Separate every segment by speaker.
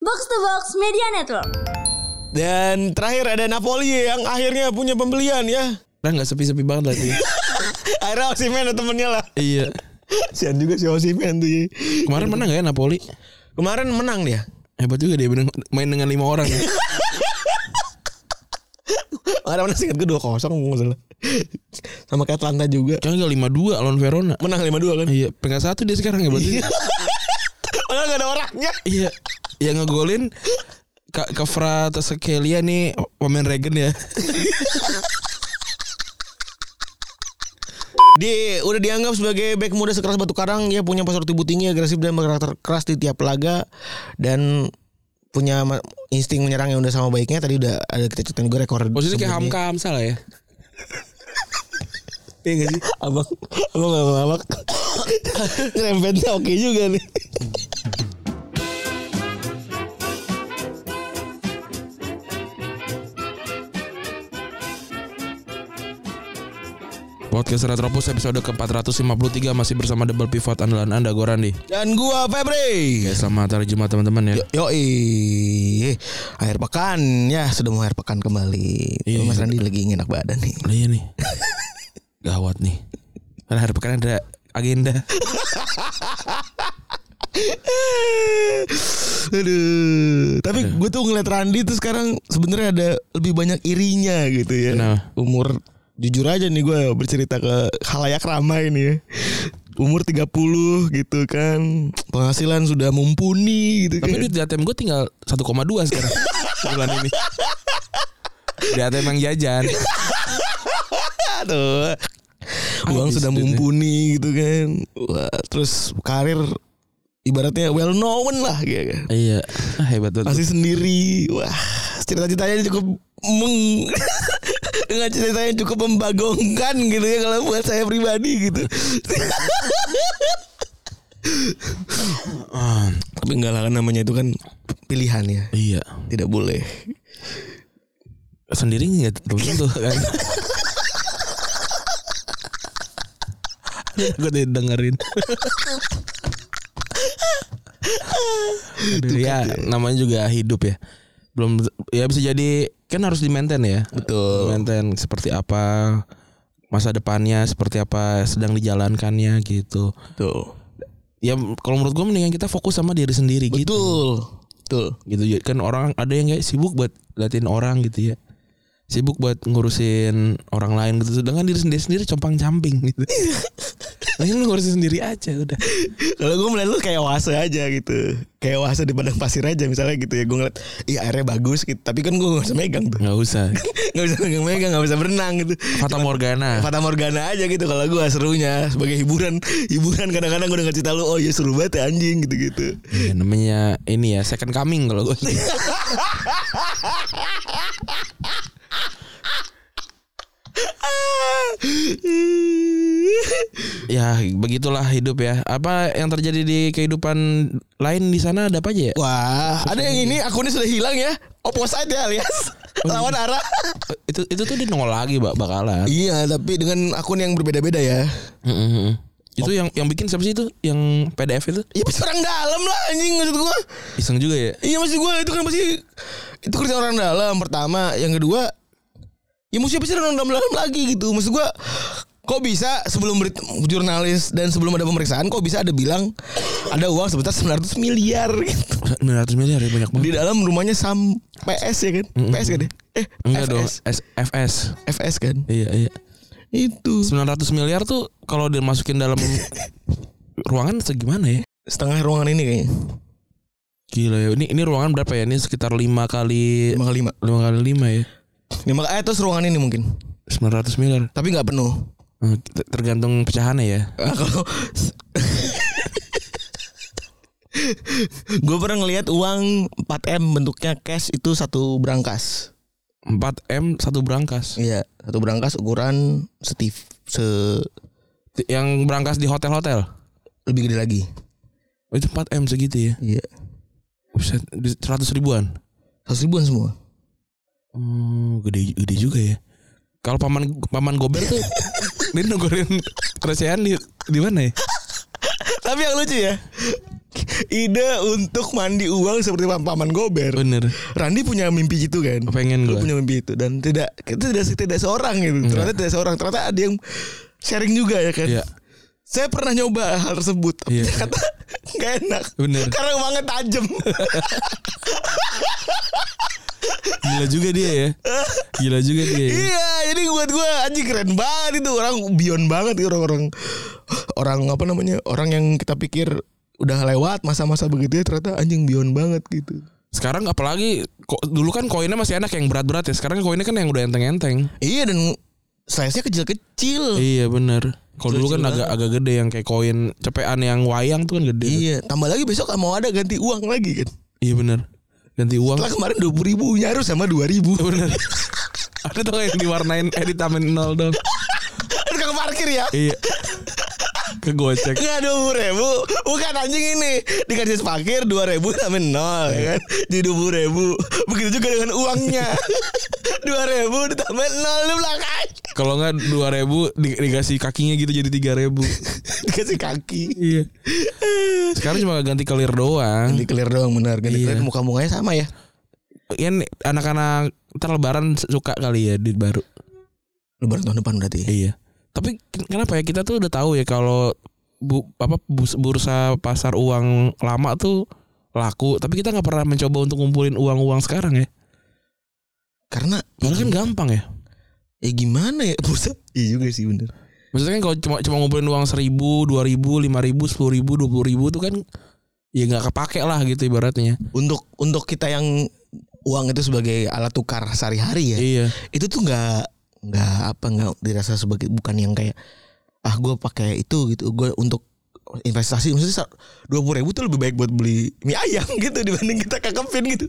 Speaker 1: Box to Box Media Network.
Speaker 2: Dan terakhir ada Napoli yang akhirnya punya pembelian ya.
Speaker 3: Kan nggak sepi-sepi banget lagi.
Speaker 2: Akhirnya Osimhen ada temennya lah.
Speaker 3: iya.
Speaker 2: Sian juga si Osimhen tuh.
Speaker 3: Kemarin menang nggak ya Napoli?
Speaker 2: Kemarin menang dia.
Speaker 3: Hebat juga dia menang- main dengan lima orang. ya.
Speaker 2: Ada mana singkat gue 2-0 kalau nggak salah. Sama kayak Atlanta juga.
Speaker 3: Kan nggak lima dua lawan Verona.
Speaker 2: Menang 5-2 kan.
Speaker 3: Iya, peringkat satu dia sekarang ya berarti.
Speaker 2: Padahal gak ada orangnya.
Speaker 3: Iya, yang ngegolin Kak Kevra Tesekelia nih pemain Regen ya.
Speaker 2: Di udah dianggap sebagai back muda sekeras batu karang, dia punya pasar tubuh tinggi, agresif dan berkarakter keras di tiap laga dan punya ma- insting menyerang yang udah sama baiknya. Tadi udah ada kita ceritain juga rekor.
Speaker 3: Posisi
Speaker 2: sebelumnya.
Speaker 3: kayak Hamka Hamsa lah ya.
Speaker 2: Iya gak sih? Abang, abang abang abang. Rempetnya oke juga nih.
Speaker 3: Podcast Retropus episode ke-453 masih bersama double pivot andalan Anda Gorandi.
Speaker 2: Dan gua Febri.
Speaker 3: Ya selamat hari Jumat teman-teman ya.
Speaker 2: Yoi Akhir pekan Ya sudah mau akhir pekan kembali
Speaker 3: Iya,
Speaker 2: Mas
Speaker 3: iya.
Speaker 2: Randi lagi ingin enak badan nih
Speaker 3: Lah iya nih. Gawat nih. Karena hari pekan ada agenda.
Speaker 2: Aduh Tapi gue tuh ngeliat Randi tuh sekarang sebenarnya ada lebih banyak irinya gitu ya
Speaker 3: Kenapa?
Speaker 2: Umur Jujur aja nih gue bercerita ke halayak ramai nih ya Umur 30 gitu kan Penghasilan sudah mumpuni gitu
Speaker 3: Tapi
Speaker 2: kan
Speaker 3: duit di ATM gue tinggal 1,2 sekarang bulan ini. Di ATM yang jajan.
Speaker 2: Aduh. Uang
Speaker 3: Habis
Speaker 2: sudah
Speaker 3: duitnya.
Speaker 2: mumpuni gitu kan. Wah, terus karir ibaratnya well known lah gitu kan.
Speaker 3: Iya. Ah, hebat banget.
Speaker 2: Masih sendiri. Wah, cerita-ceritanya cukup meng dengan ceritanya cukup membagongkan gitu ya kalau buat saya pribadi gitu.
Speaker 3: Ah,
Speaker 2: Tapi enggak lah kan namanya itu kan pilihan ya.
Speaker 3: iya.
Speaker 2: Tidak boleh.
Speaker 3: Sendiri nggak belum tentu kan. gue dengerin. Aduh, ya namanya juga hidup ya. Belum ya bisa jadi kan harus di maintain ya.
Speaker 2: Betul.
Speaker 3: Maintain seperti apa masa depannya seperti apa sedang dijalankannya gitu.
Speaker 2: Tuh.
Speaker 3: ya kalau menurut gue mendingan kita fokus sama diri sendiri gitu
Speaker 2: Betul. Betul.
Speaker 3: gitu ya kan orang ada yang kayak sibuk buat liatin orang gitu ya sibuk buat ngurusin orang lain gitu dengan diri sendiri sendiri compang camping gitu lain lu ngurusin sendiri aja udah
Speaker 2: Kalau gue melihat lu kayak wase aja gitu Kayak wase di padang pasir aja misalnya gitu ya Gue ngeliat Iya airnya bagus gitu Tapi kan gue gak bisa megang tuh
Speaker 3: nggak usah
Speaker 2: Gak bisa megang-megang Gak bisa berenang gitu
Speaker 3: Fata Morgana
Speaker 2: Fata Morgana aja gitu kalau gue serunya Sebagai hiburan Hiburan kadang-kadang gue denger cerita lu Oh iya seru banget ya anjing gitu-gitu
Speaker 3: Ya, namanya ini ya second coming kalau gue
Speaker 2: Ah.
Speaker 3: ya begitulah hidup ya apa yang terjadi di kehidupan lain di sana ada apa aja ya
Speaker 2: Wah ada yang ini akunnya sudah hilang ya Opposite ya alias Lawan arah
Speaker 3: itu itu tuh dia nongol lagi bak bakalan
Speaker 2: Iya tapi dengan akun yang berbeda-beda ya
Speaker 3: Mm-mm. Itu yang yang bikin siapa sih itu? Yang PDF itu?
Speaker 2: Ya pasti orang dalam lah anjing maksud gue
Speaker 3: Iseng juga ya.
Speaker 2: Iya maksud gue itu kan pasti itu kerja orang dalam pertama, yang kedua ya mesti pasti orang dalam dalam lagi gitu. Maksud gue kok bisa sebelum berit- jurnalis dan sebelum ada pemeriksaan kok bisa ada bilang ada uang sebesar 900 miliar gitu.
Speaker 3: 900 miliar ya banyak
Speaker 2: Di dalam rumahnya sam PS ya kan? PS kan ya? Eh,
Speaker 3: Enggak dong,
Speaker 2: FS.
Speaker 3: S- FS.
Speaker 2: FS kan?
Speaker 3: Iya, iya.
Speaker 2: Itu
Speaker 3: 900 miliar tuh kalau dimasukin dalam ruangan segimana ya?
Speaker 2: setengah ruangan ini kayaknya.
Speaker 3: Gila ya. Ini ini ruangan berapa ya? Ini sekitar 5 kali
Speaker 2: 5 kali 5.
Speaker 3: 5 kali 5 ya.
Speaker 2: 5 eh terus ruangan ini mungkin.
Speaker 3: 900 miliar.
Speaker 2: Tapi nggak penuh.
Speaker 3: Eh, ter- Tergantung pecahannya ya.
Speaker 2: Ah, kalau gue pernah ngelihat uang 4 m bentuknya cash itu satu berangkas
Speaker 3: 4M satu berangkas.
Speaker 2: iya satu berangkas ukuran setif se
Speaker 3: Yang berangkas di hotel-hotel.
Speaker 2: lebih gede lagi
Speaker 3: Oh, Itu 4M segitu ya.
Speaker 2: iya
Speaker 3: Buset, di 100 ribuan.
Speaker 2: seratus ribuan semua
Speaker 3: Hmm, gede gede juga ya. Kalau paman paman Gober tuh dia nungguin recehan di di mana ya?
Speaker 2: tapi yang lucu ya ide untuk mandi uang seperti pam- paman Gober.
Speaker 3: Bener.
Speaker 2: Randi punya mimpi gitu kan.
Speaker 3: Pengen
Speaker 2: Lu
Speaker 3: gua.
Speaker 2: punya mimpi itu dan tidak kita tidak tidak seorang gitu. Ternyata tidak seorang. Ternyata ada yang sharing juga ya kan.
Speaker 3: Iya.
Speaker 2: Saya pernah nyoba hal tersebut. Tapi
Speaker 3: Iya.
Speaker 2: dia kata nggak enak.
Speaker 3: Bener. Iya.
Speaker 2: Karena uangnya tajam.
Speaker 3: Gila juga dia ya. Gila juga dia. Ya.
Speaker 2: iya, jadi buat gue anjing keren banget itu orang beyond banget itu orang-orang orang apa namanya? Orang yang kita pikir udah lewat masa-masa begitu ya ternyata anjing beyond banget gitu.
Speaker 3: Sekarang apalagi ko- dulu kan koinnya masih enak yang berat-berat ya. Sekarang koinnya kan yang udah enteng-enteng.
Speaker 2: Iya dan size-nya kecil-kecil.
Speaker 3: Iya bener. Kalau dulu kan
Speaker 2: Kecil
Speaker 3: agak agak gede yang kayak koin cepean yang wayang tuh kan gede.
Speaker 2: Iya, tambah lagi besok mau ada ganti uang lagi kan.
Speaker 3: Iya bener. Ganti uang.
Speaker 2: Setelah kemarin 20.000 ribu nyaru sama 2.000 ribu.
Speaker 3: bener. Ada tuh yang diwarnain edit tamen nol dong.
Speaker 2: Ada kakak parkir ya.
Speaker 3: iya. Kegocek.
Speaker 2: Enggak 20 Iya, ribu. Bukan anjing ini. Dikasih parkir 2 ribu sama 0 ya kan. Jadi 20 ribu. Begitu juga dengan uangnya. 2 ribu ditambah 0 di belakang.
Speaker 3: Kalau nggak dua ribu di- dikasih kakinya gitu jadi tiga ribu.
Speaker 2: Dikasih kaki.
Speaker 3: iya. Sekarang cuma ganti kelir doang.
Speaker 2: Ganti clear doang benar. Ganti
Speaker 3: Iya.
Speaker 2: clear muka-mukanya sama ya.
Speaker 3: Kan anak-anak terlebaran suka kali ya duit baru.
Speaker 2: Lebaran tahun depan berarti.
Speaker 3: Iya. Tapi ken- kenapa ya kita tuh udah tahu ya kalau bu, apa bus- bursa pasar uang lama tuh laku, tapi kita nggak pernah mencoba untuk ngumpulin uang-uang sekarang ya.
Speaker 2: Karena
Speaker 3: Padahal kan gampang ya.
Speaker 2: ya gimana ya bursa? Iya juga sih bener.
Speaker 3: Maksudnya kan kalau cuma cuma ngumpulin uang seribu, dua ribu, lima ribu, sepuluh ribu, dua puluh ribu tuh kan ya nggak kepake lah gitu ibaratnya.
Speaker 2: Untuk untuk kita yang uang itu sebagai alat tukar sehari-hari ya.
Speaker 3: Iya.
Speaker 2: itu tuh nggak nggak apa nggak dirasa sebagai bukan yang kayak ah gue pakai itu gitu gue untuk investasi maksudnya dua puluh ribu tuh lebih baik buat beli mie ayam gitu dibanding kita kakepin gitu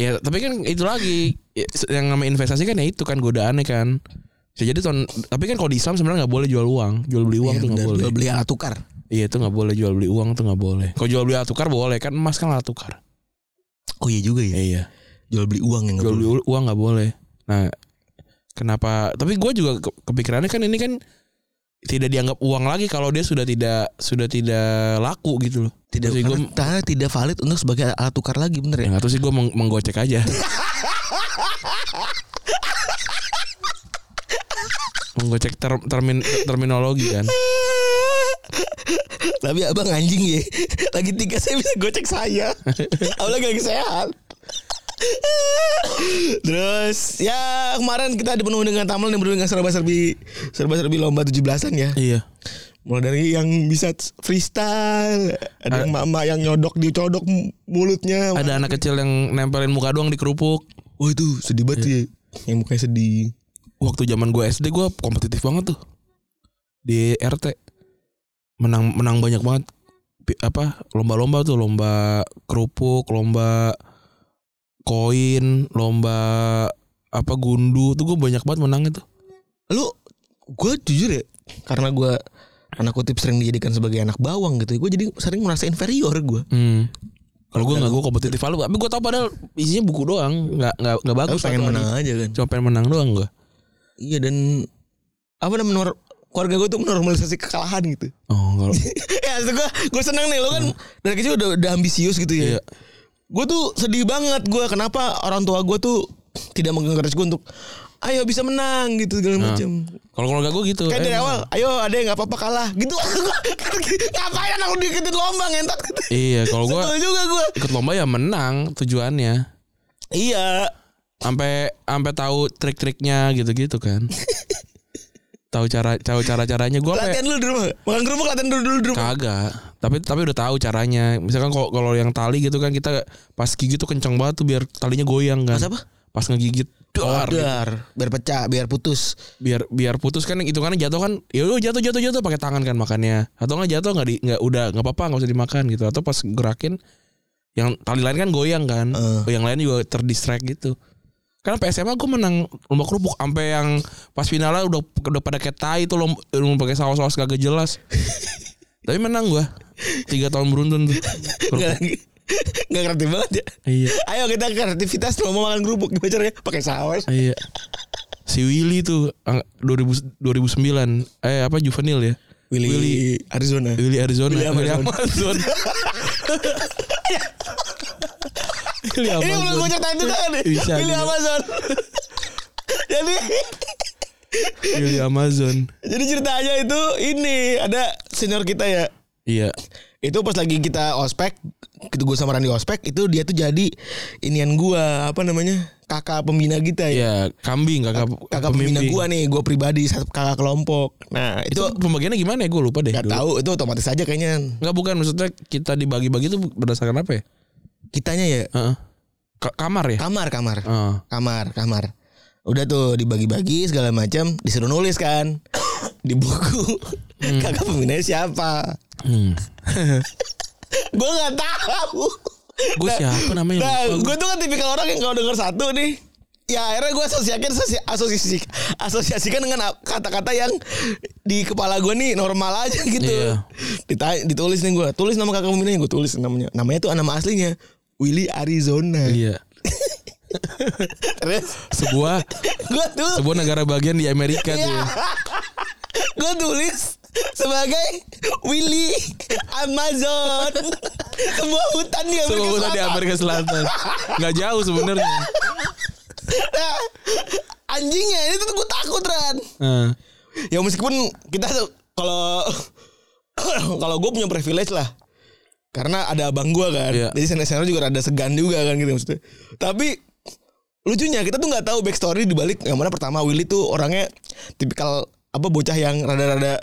Speaker 3: Ya tapi kan itu lagi Ya, yang namanya investasi kan ya itu kan godaannya kan. Bisa jadi tahun tapi kan kalau di Islam sebenarnya nggak boleh jual uang, jual beli
Speaker 2: Iya,
Speaker 3: uang tuh nggak
Speaker 2: benar,
Speaker 3: boleh.
Speaker 2: jual beli alat tukar
Speaker 3: Iya itu nggak boleh jual beli uang tuh nggak boleh. Kalau jual beli alat tukar boleh kan emas kan alat tukar.
Speaker 2: oh iya juga ya
Speaker 3: Iya.
Speaker 2: jual beli uang yang nggak
Speaker 3: Jual
Speaker 2: boleh.
Speaker 3: beli u- uang nggak boleh. Nah kenapa? Tapi gue juga ke- kepikirannya kan ini kan tidak dianggap uang lagi kalau dia sudah tidak sudah tidak laku gitu loh.
Speaker 2: tidak
Speaker 3: Maksud
Speaker 2: karena
Speaker 3: gue
Speaker 2: ta- tidak valid untuk sebagai alat tukar lagi bener ya
Speaker 3: ya, nggak tahu sih gue meng- menggocek aja. menggocek ter- termin terminologi kan.
Speaker 2: tapi abang anjing ya lagi tiga saya bisa gocek saya apalagi lagi sehat Terus ya kemarin kita dipenuhi dengan tamal yang penuh dengan serba-serbi serba-serbi lomba 17-an ya.
Speaker 3: Iya.
Speaker 2: Mulai dari yang bisa freestyle, ada yang mama yang nyodok dicodok m- mulutnya.
Speaker 3: Ada anak kecil yang nempelin muka doang di kerupuk.
Speaker 2: Wah itu sedih banget ya. Yang mukanya sedih.
Speaker 3: waktu zaman gue SD gue kompetitif banget tuh di RT menang menang banyak banget Pi- apa lomba-lomba tuh lomba kerupuk lomba koin lomba apa gundu tuh gue banyak banget menang itu
Speaker 2: Lu gue jujur ya karena gue anak kutip sering dijadikan sebagai anak bawang gitu. Gue jadi sering merasa inferior gue.
Speaker 3: kalau gue nggak gue kompetitif lalu tapi gue tau padahal isinya buku doang nggak nggak nggak
Speaker 2: Aku
Speaker 3: bagus
Speaker 2: pengen
Speaker 3: satu
Speaker 2: menang
Speaker 3: hari.
Speaker 2: aja kan.
Speaker 3: cuma pengen menang doang gue
Speaker 2: Iya dan apa namanya menor- keluarga gue tuh menormalisasi kekalahan gitu.
Speaker 3: oh kalau
Speaker 2: ya maksud gue gue seneng nih lo kan dari kecil udah, udah ambisius gitu ya.
Speaker 3: Hmm. Iya.
Speaker 2: Gue tuh sedih banget gue kenapa orang tua gue tuh tidak mengencourage gue untuk ayo bisa menang gitu segala macam.
Speaker 3: kalau keluarga gue gitu
Speaker 2: Kayak
Speaker 3: eh,
Speaker 2: Kan dari
Speaker 3: Ah. menang.
Speaker 2: awal, ayo ada yang nggak apa-apa kalah gitu. Ngapain anak lu diiketin lomba ngentot gitu.
Speaker 3: iya kalau gue
Speaker 2: Sebel juga gue.
Speaker 3: ikut lomba ya menang tujuannya
Speaker 2: Iya.
Speaker 3: sampai sampai tahu trik-triknya gitu-gitu kan. tahu cara tahu cara-caranya gua sampai
Speaker 2: Latihan dulu di rumah. Makan kerupuk latihan dulu dulu di rumah.
Speaker 3: kagak. Tapi tapi udah tahu caranya. Misalkan kalau kalau yang tali gitu kan kita pas gigit tuh kenceng banget tuh biar talinya goyang kan.
Speaker 2: Pas apa?
Speaker 3: Pas ngegigit
Speaker 2: Oh,
Speaker 3: dar,
Speaker 2: dar. biar pecah, biar putus.
Speaker 3: biar biar putus kan itu kan jatuh kan ya udah jatuh jatuh jatuh pakai tangan kan makannya atau nggak jatuh nggak di nggak udah nggak apa-apa nggak usah dimakan gitu atau pas gerakin yang tali lain kan goyang kan
Speaker 2: Eh.
Speaker 3: yang lain juga terdistract gitu karena PSMA gue menang lomba kerupuk sampai yang pas finalnya udah udah pada kayak tai tuh lomba, lomba pakai saus-saus kagak jelas tapi menang gua tiga tahun beruntun tuh
Speaker 2: Enggak
Speaker 3: kerupuk.
Speaker 2: lagi. Enggak kreatif banget ya.
Speaker 3: iya
Speaker 2: Ayo kita kreativitas lo mau makan kerupuk gimana caranya? Pakai saus.
Speaker 3: iya si Willy tuh ang- 2000, 2009 eh apa juvenil ya
Speaker 2: Willy,
Speaker 3: Willy-
Speaker 2: Arizona.
Speaker 3: Willy Arizona
Speaker 2: Willy
Speaker 3: Willy
Speaker 2: Amazon.
Speaker 3: Amazon Willy
Speaker 2: Ini belum gue ceritain juga kan nih.
Speaker 3: Bisa
Speaker 2: Willy
Speaker 3: juga.
Speaker 2: Amazon. jadi
Speaker 3: Willy Amazon
Speaker 2: jadi ceritanya itu ini ada senior kita ya.
Speaker 3: Iya
Speaker 2: Itu pas lagi kita ospek, gitu gue sama Randi ospek, itu dia tuh jadi inian gua apa namanya? Kakak pembina kita ya.
Speaker 3: Iya kambing kakak
Speaker 2: Kakak pembina
Speaker 3: pemimpin.
Speaker 2: gua nih, gua pribadi satu kakak kelompok. Nah,
Speaker 3: Itu
Speaker 2: itu
Speaker 3: pembagiannya gimana ya gue lupa deh
Speaker 2: nggak
Speaker 3: dulu.
Speaker 2: tahu itu otomatis aja kayaknya.
Speaker 3: Nggak bukan maksudnya kita dibagi-bagi itu berdasarkan apa ya?
Speaker 2: Kitanya ya
Speaker 3: Heeh. Ka- kamar ya?
Speaker 2: kamar kamar.
Speaker 3: Heeh.
Speaker 2: kamar kamar udah tuh dibagi-bagi segala macam disuruh nulis kan di buku kakak pembina siapa
Speaker 3: Hmm.
Speaker 2: gue nggak tahu
Speaker 3: Gue siapa namanya?
Speaker 2: nah
Speaker 3: Lupa
Speaker 2: gue tuh kan tipikal orang yang kalau denger satu nih ya akhirnya gue asosiasikan asosi- asosiasi asosiasikan dengan a- kata-kata yang di kepala gue nih normal aja gitu
Speaker 3: Iya.
Speaker 2: Dita- ditulis nih gue tulis nama kakak pembina gue tulis namanya namanya tuh nama aslinya Willy Arizona
Speaker 3: Iya.
Speaker 2: terus
Speaker 3: Sebuah
Speaker 2: gue tuh
Speaker 3: sebuah negara bagian di Amerika tuh.
Speaker 2: Iya. Gue tulis sebagai Willy Amazon. Sebuah hutan di Amerika
Speaker 3: Sebuah kota di
Speaker 2: Selatan. Iya.
Speaker 3: Amerika Selatan. Nggak jauh sebenarnya.
Speaker 2: Nah, anjingnya ini tuh gue takut Ran.
Speaker 3: Heeh.
Speaker 2: Ya meskipun kita tuh kalau kalau gue punya privilege lah. Karena ada abang gue kan.
Speaker 3: Iya.
Speaker 2: Jadi senior-senior juga ada segan juga kan gitu maksudnya. Tapi lucunya kita tuh nggak tahu backstory di balik yang mana pertama Willy tuh orangnya tipikal apa bocah yang rada-rada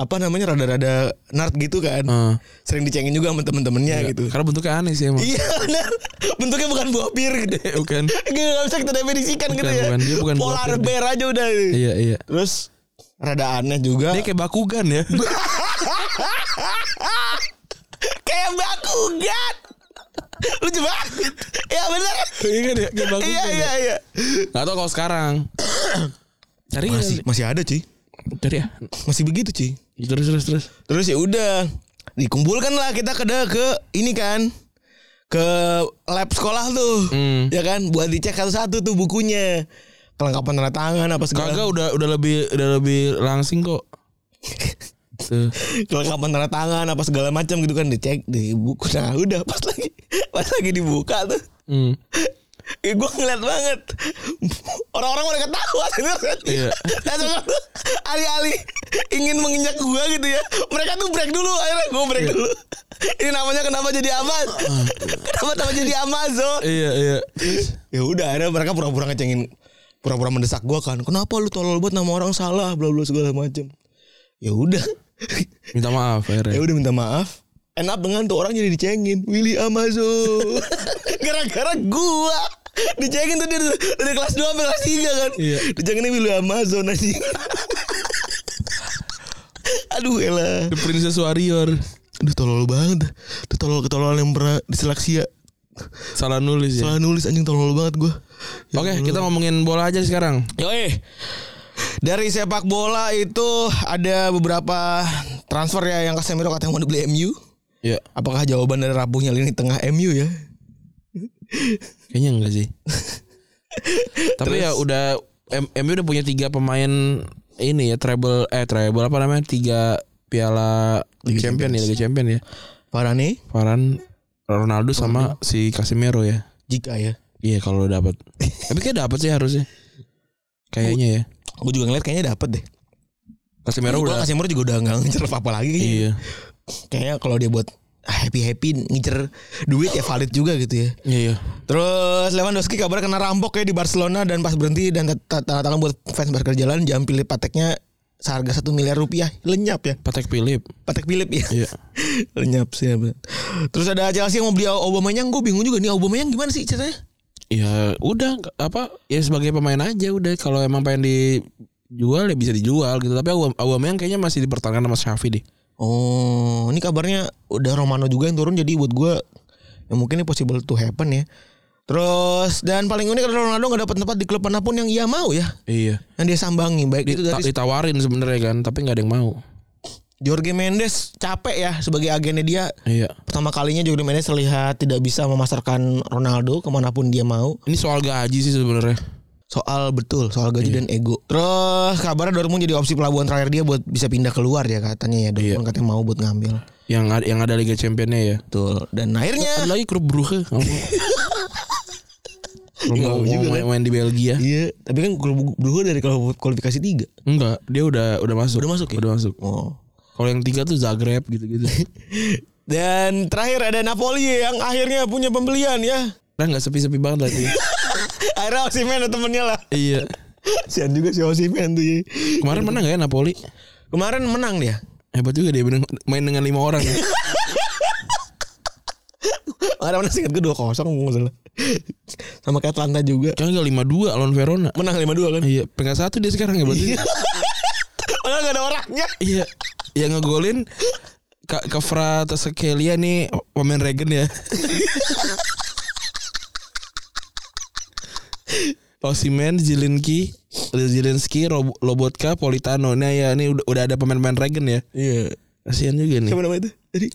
Speaker 2: apa namanya rada-rada nerd gitu kan.
Speaker 3: Heeh.
Speaker 2: Sering dicengin juga sama temen-temennya gitu.
Speaker 3: Ah. Karena bentuknya aneh sih emang.
Speaker 2: Iya benar. Bentuknya bukan buah pir gitu.
Speaker 3: Bukan.
Speaker 2: Gak bisa kita definisikan gitu
Speaker 3: Bukan,
Speaker 2: ya.
Speaker 3: bukan. Dia bukan buah
Speaker 2: Polar
Speaker 3: pir.
Speaker 2: bear aja udah.
Speaker 3: Iya, iya.
Speaker 2: Terus rada aneh juga.
Speaker 3: Dia kayak bakugan ya.
Speaker 2: kayak bakugan. Lucu banget. Ya benar.
Speaker 3: Iya kan ya, kayak
Speaker 2: Iya
Speaker 3: bakugan.
Speaker 2: iya
Speaker 3: ya.
Speaker 2: iya.
Speaker 3: Nggak tahu kalau sekarang. Cari ya.
Speaker 2: Masih masih ada cuy.
Speaker 3: Cari ya.
Speaker 2: Masih begitu cuy.
Speaker 3: Terus terus terus.
Speaker 2: Terus ya udah dikumpulkan lah kita ke ke ini kan ke lab sekolah tuh.
Speaker 3: Hmm.
Speaker 2: Ya kan buat dicek satu-satu tuh bukunya. Kelengkapan tanda tangan apa segala.
Speaker 3: Kagak udah udah lebih udah lebih langsing kok. Tuh.
Speaker 2: kelengkapan tanda tangan apa segala macam gitu kan dicek di buku nah udah pas lagi pas lagi dibuka tuh
Speaker 3: Hmm.
Speaker 2: ya gue ngeliat banget orang-orang udah ketawa
Speaker 3: Iya.
Speaker 2: Nah, sebenarnya tuh alih-alih ingin menginjak gua gitu ya mereka tuh break dulu akhirnya gue break dulu ini namanya kenapa jadi Amazon kenapa nama jadi Amazon
Speaker 3: Iya iya.
Speaker 2: ya udah akhirnya mereka pura-pura ngecengin pura-pura mendesak gua kan kenapa lu tolol buat nama orang salah bla bla segala macam ya udah
Speaker 3: Minta maaf
Speaker 2: Ya
Speaker 3: akhirnya.
Speaker 2: udah minta maaf. End up dengan tuh orang jadi dicengin Willy Amazon Gara-gara gua Dicengin tuh dari, dari kelas 2 sampai kelas 3 kan
Speaker 3: Iya.
Speaker 2: Dicengin Willy Amazon aja Aduh elah
Speaker 3: The Princess Warrior
Speaker 2: Aduh tolol banget Itu tolol ketololan yang pernah diseleksi ya
Speaker 3: salah nulis ya.
Speaker 2: Salah nulis anjing tolol banget gua Ya
Speaker 3: Oke,
Speaker 2: Allah.
Speaker 3: kita ngomongin bola aja sekarang.
Speaker 2: Yoi. Dari sepak bola itu ada beberapa transfer ya yang Casemiro katanya mau dibeli MU.
Speaker 3: Ya,
Speaker 2: Apakah jawaban dari rapuhnya lini tengah MU ya?
Speaker 3: kayaknya enggak sih. Tapi ya udah M- MU udah punya tiga pemain ini ya treble eh treble apa namanya? Tiga piala Liga Champion ya, Liga Champion ya.
Speaker 2: Parah nih
Speaker 3: Varane, Ronaldo sama si Casemiro ya.
Speaker 2: jika ya.
Speaker 3: Iya, kalau dapat. Tapi kayak dapat sih harusnya. Kayaknya ya.
Speaker 2: Gue juga ngeliat kayaknya dapet deh.
Speaker 3: Casemiro
Speaker 2: Gua
Speaker 3: udah
Speaker 2: Casemiro Iya, juga udah nggak ngincer apa-apa lagi. kayaknya.
Speaker 3: Iya.
Speaker 2: Kayaknya kalau dia buat happy-happy ngincer duit ya valid juga gitu ya.
Speaker 3: Iya, iya.
Speaker 2: Terus Lewandowski kabar kena rampok ya di Barcelona dan pas berhenti dan tat- tat- tanda tangan buat fans Barca jalan jam pilih pateknya seharga satu miliar rupiah lenyap ya.
Speaker 3: Patek Philip.
Speaker 2: Patek Philip ya.
Speaker 3: Iya.
Speaker 2: lenyap sih. bener. Terus ada Chelsea yang mau beli Aubameyang, gue bingung juga nih Aubameyang gimana sih ceritanya?
Speaker 3: Ya udah apa ya sebagai pemain aja udah kalau emang pengen dijual ya bisa dijual gitu tapi Aubame- Aubameyang kayaknya masih dipertahankan sama Xavi deh.
Speaker 2: Oh, ini kabarnya udah Romano juga yang turun jadi buat gue ya mungkin ini possible to happen ya. Terus dan paling unik adalah Ronaldo nggak dapat tempat di klub manapun yang ia mau ya,
Speaker 3: Iya.
Speaker 2: yang dia sambangi baik itu dari
Speaker 3: ditawarin sebenarnya kan tapi nggak ada yang mau.
Speaker 2: Jorge Mendes capek ya sebagai agennya dia.
Speaker 3: Iya.
Speaker 2: Pertama kalinya Jorge Mendes terlihat tidak bisa memasarkan Ronaldo kemanapun dia mau.
Speaker 3: Ini soal gaji sih sebenarnya.
Speaker 2: Soal betul, soal gaji dan ego. Terus kabarnya Dortmund jadi opsi pelabuhan terakhir dia buat bisa pindah keluar ya katanya ya. Dortmund katanya mau buat ngambil.
Speaker 3: Yang ada yang ada Liga Championnya ya.
Speaker 2: Betul. Dan akhirnya
Speaker 3: Ada lagi klub Brugge. Belum main,
Speaker 2: ya?
Speaker 3: main di Belgia.
Speaker 2: Iya, tapi kan klub Brugge dari kalau kualifikasi 3.
Speaker 3: Enggak, dia udah udah masuk.
Speaker 2: Udah masuk ya?
Speaker 3: Udah masuk.
Speaker 2: Oh.
Speaker 3: Kalau yang tiga tuh Zagreb gitu-gitu.
Speaker 2: Dan terakhir ada Napoli yang akhirnya punya pembelian ya.
Speaker 3: Nah nggak sepi-sepi banget lagi.
Speaker 2: Akhirnya Osimhen ada temennya lah.
Speaker 3: iya.
Speaker 2: Sian juga si Osimhen tuh. ya.
Speaker 3: Kemarin menang gak ya Napoli?
Speaker 2: Kemarin menang dia.
Speaker 3: Hebat juga dia menang- main dengan lima orang. ya.
Speaker 2: Ada mana sih gue 2-0 nggak salah. Sama kayak Atlanta juga.
Speaker 3: Kan gak lima dua lawan Verona.
Speaker 2: Menang 5-2 kan.
Speaker 3: Iya, peringkat satu dia sekarang ya berarti.
Speaker 2: Padahal gak ada orangnya.
Speaker 3: iya. Yang ngegolin Kak Kafra Tasekelia nih pemain Regen ya. Osimen, Zilinski, Zilinski, Rob- Lobotka, Politano. Nah ya ini udah, udah ada pemain-pemain Regen ya.
Speaker 2: Iya.
Speaker 3: Kasihan juga nih.
Speaker 2: Siapa namanya itu? Tadi.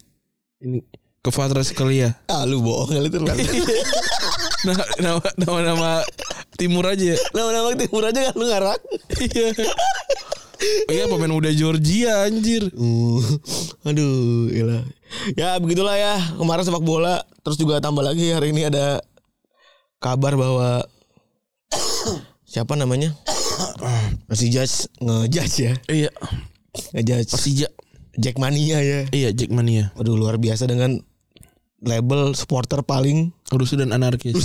Speaker 3: Ini Kafra Tasekelia.
Speaker 2: Ah lu bohong kali itu.
Speaker 3: Nah, nama, nama, nama timur aja ya.
Speaker 2: Nama-nama timur aja kan lu ngarang.
Speaker 3: Iya. Iya pemain muda Georgia anjir.
Speaker 2: Uh, aduh, gila. Ya begitulah ya. Kemarin sepak bola, terus juga tambah lagi hari ini ada kabar bahwa siapa namanya? Masih judge ngejudge ya.
Speaker 3: Iya,
Speaker 2: Ngejudge
Speaker 3: Persija.
Speaker 2: Jackmania ya.
Speaker 3: Iya, Jackmania.
Speaker 2: Aduh luar biasa dengan label supporter paling
Speaker 3: Rusuh dan anarkis.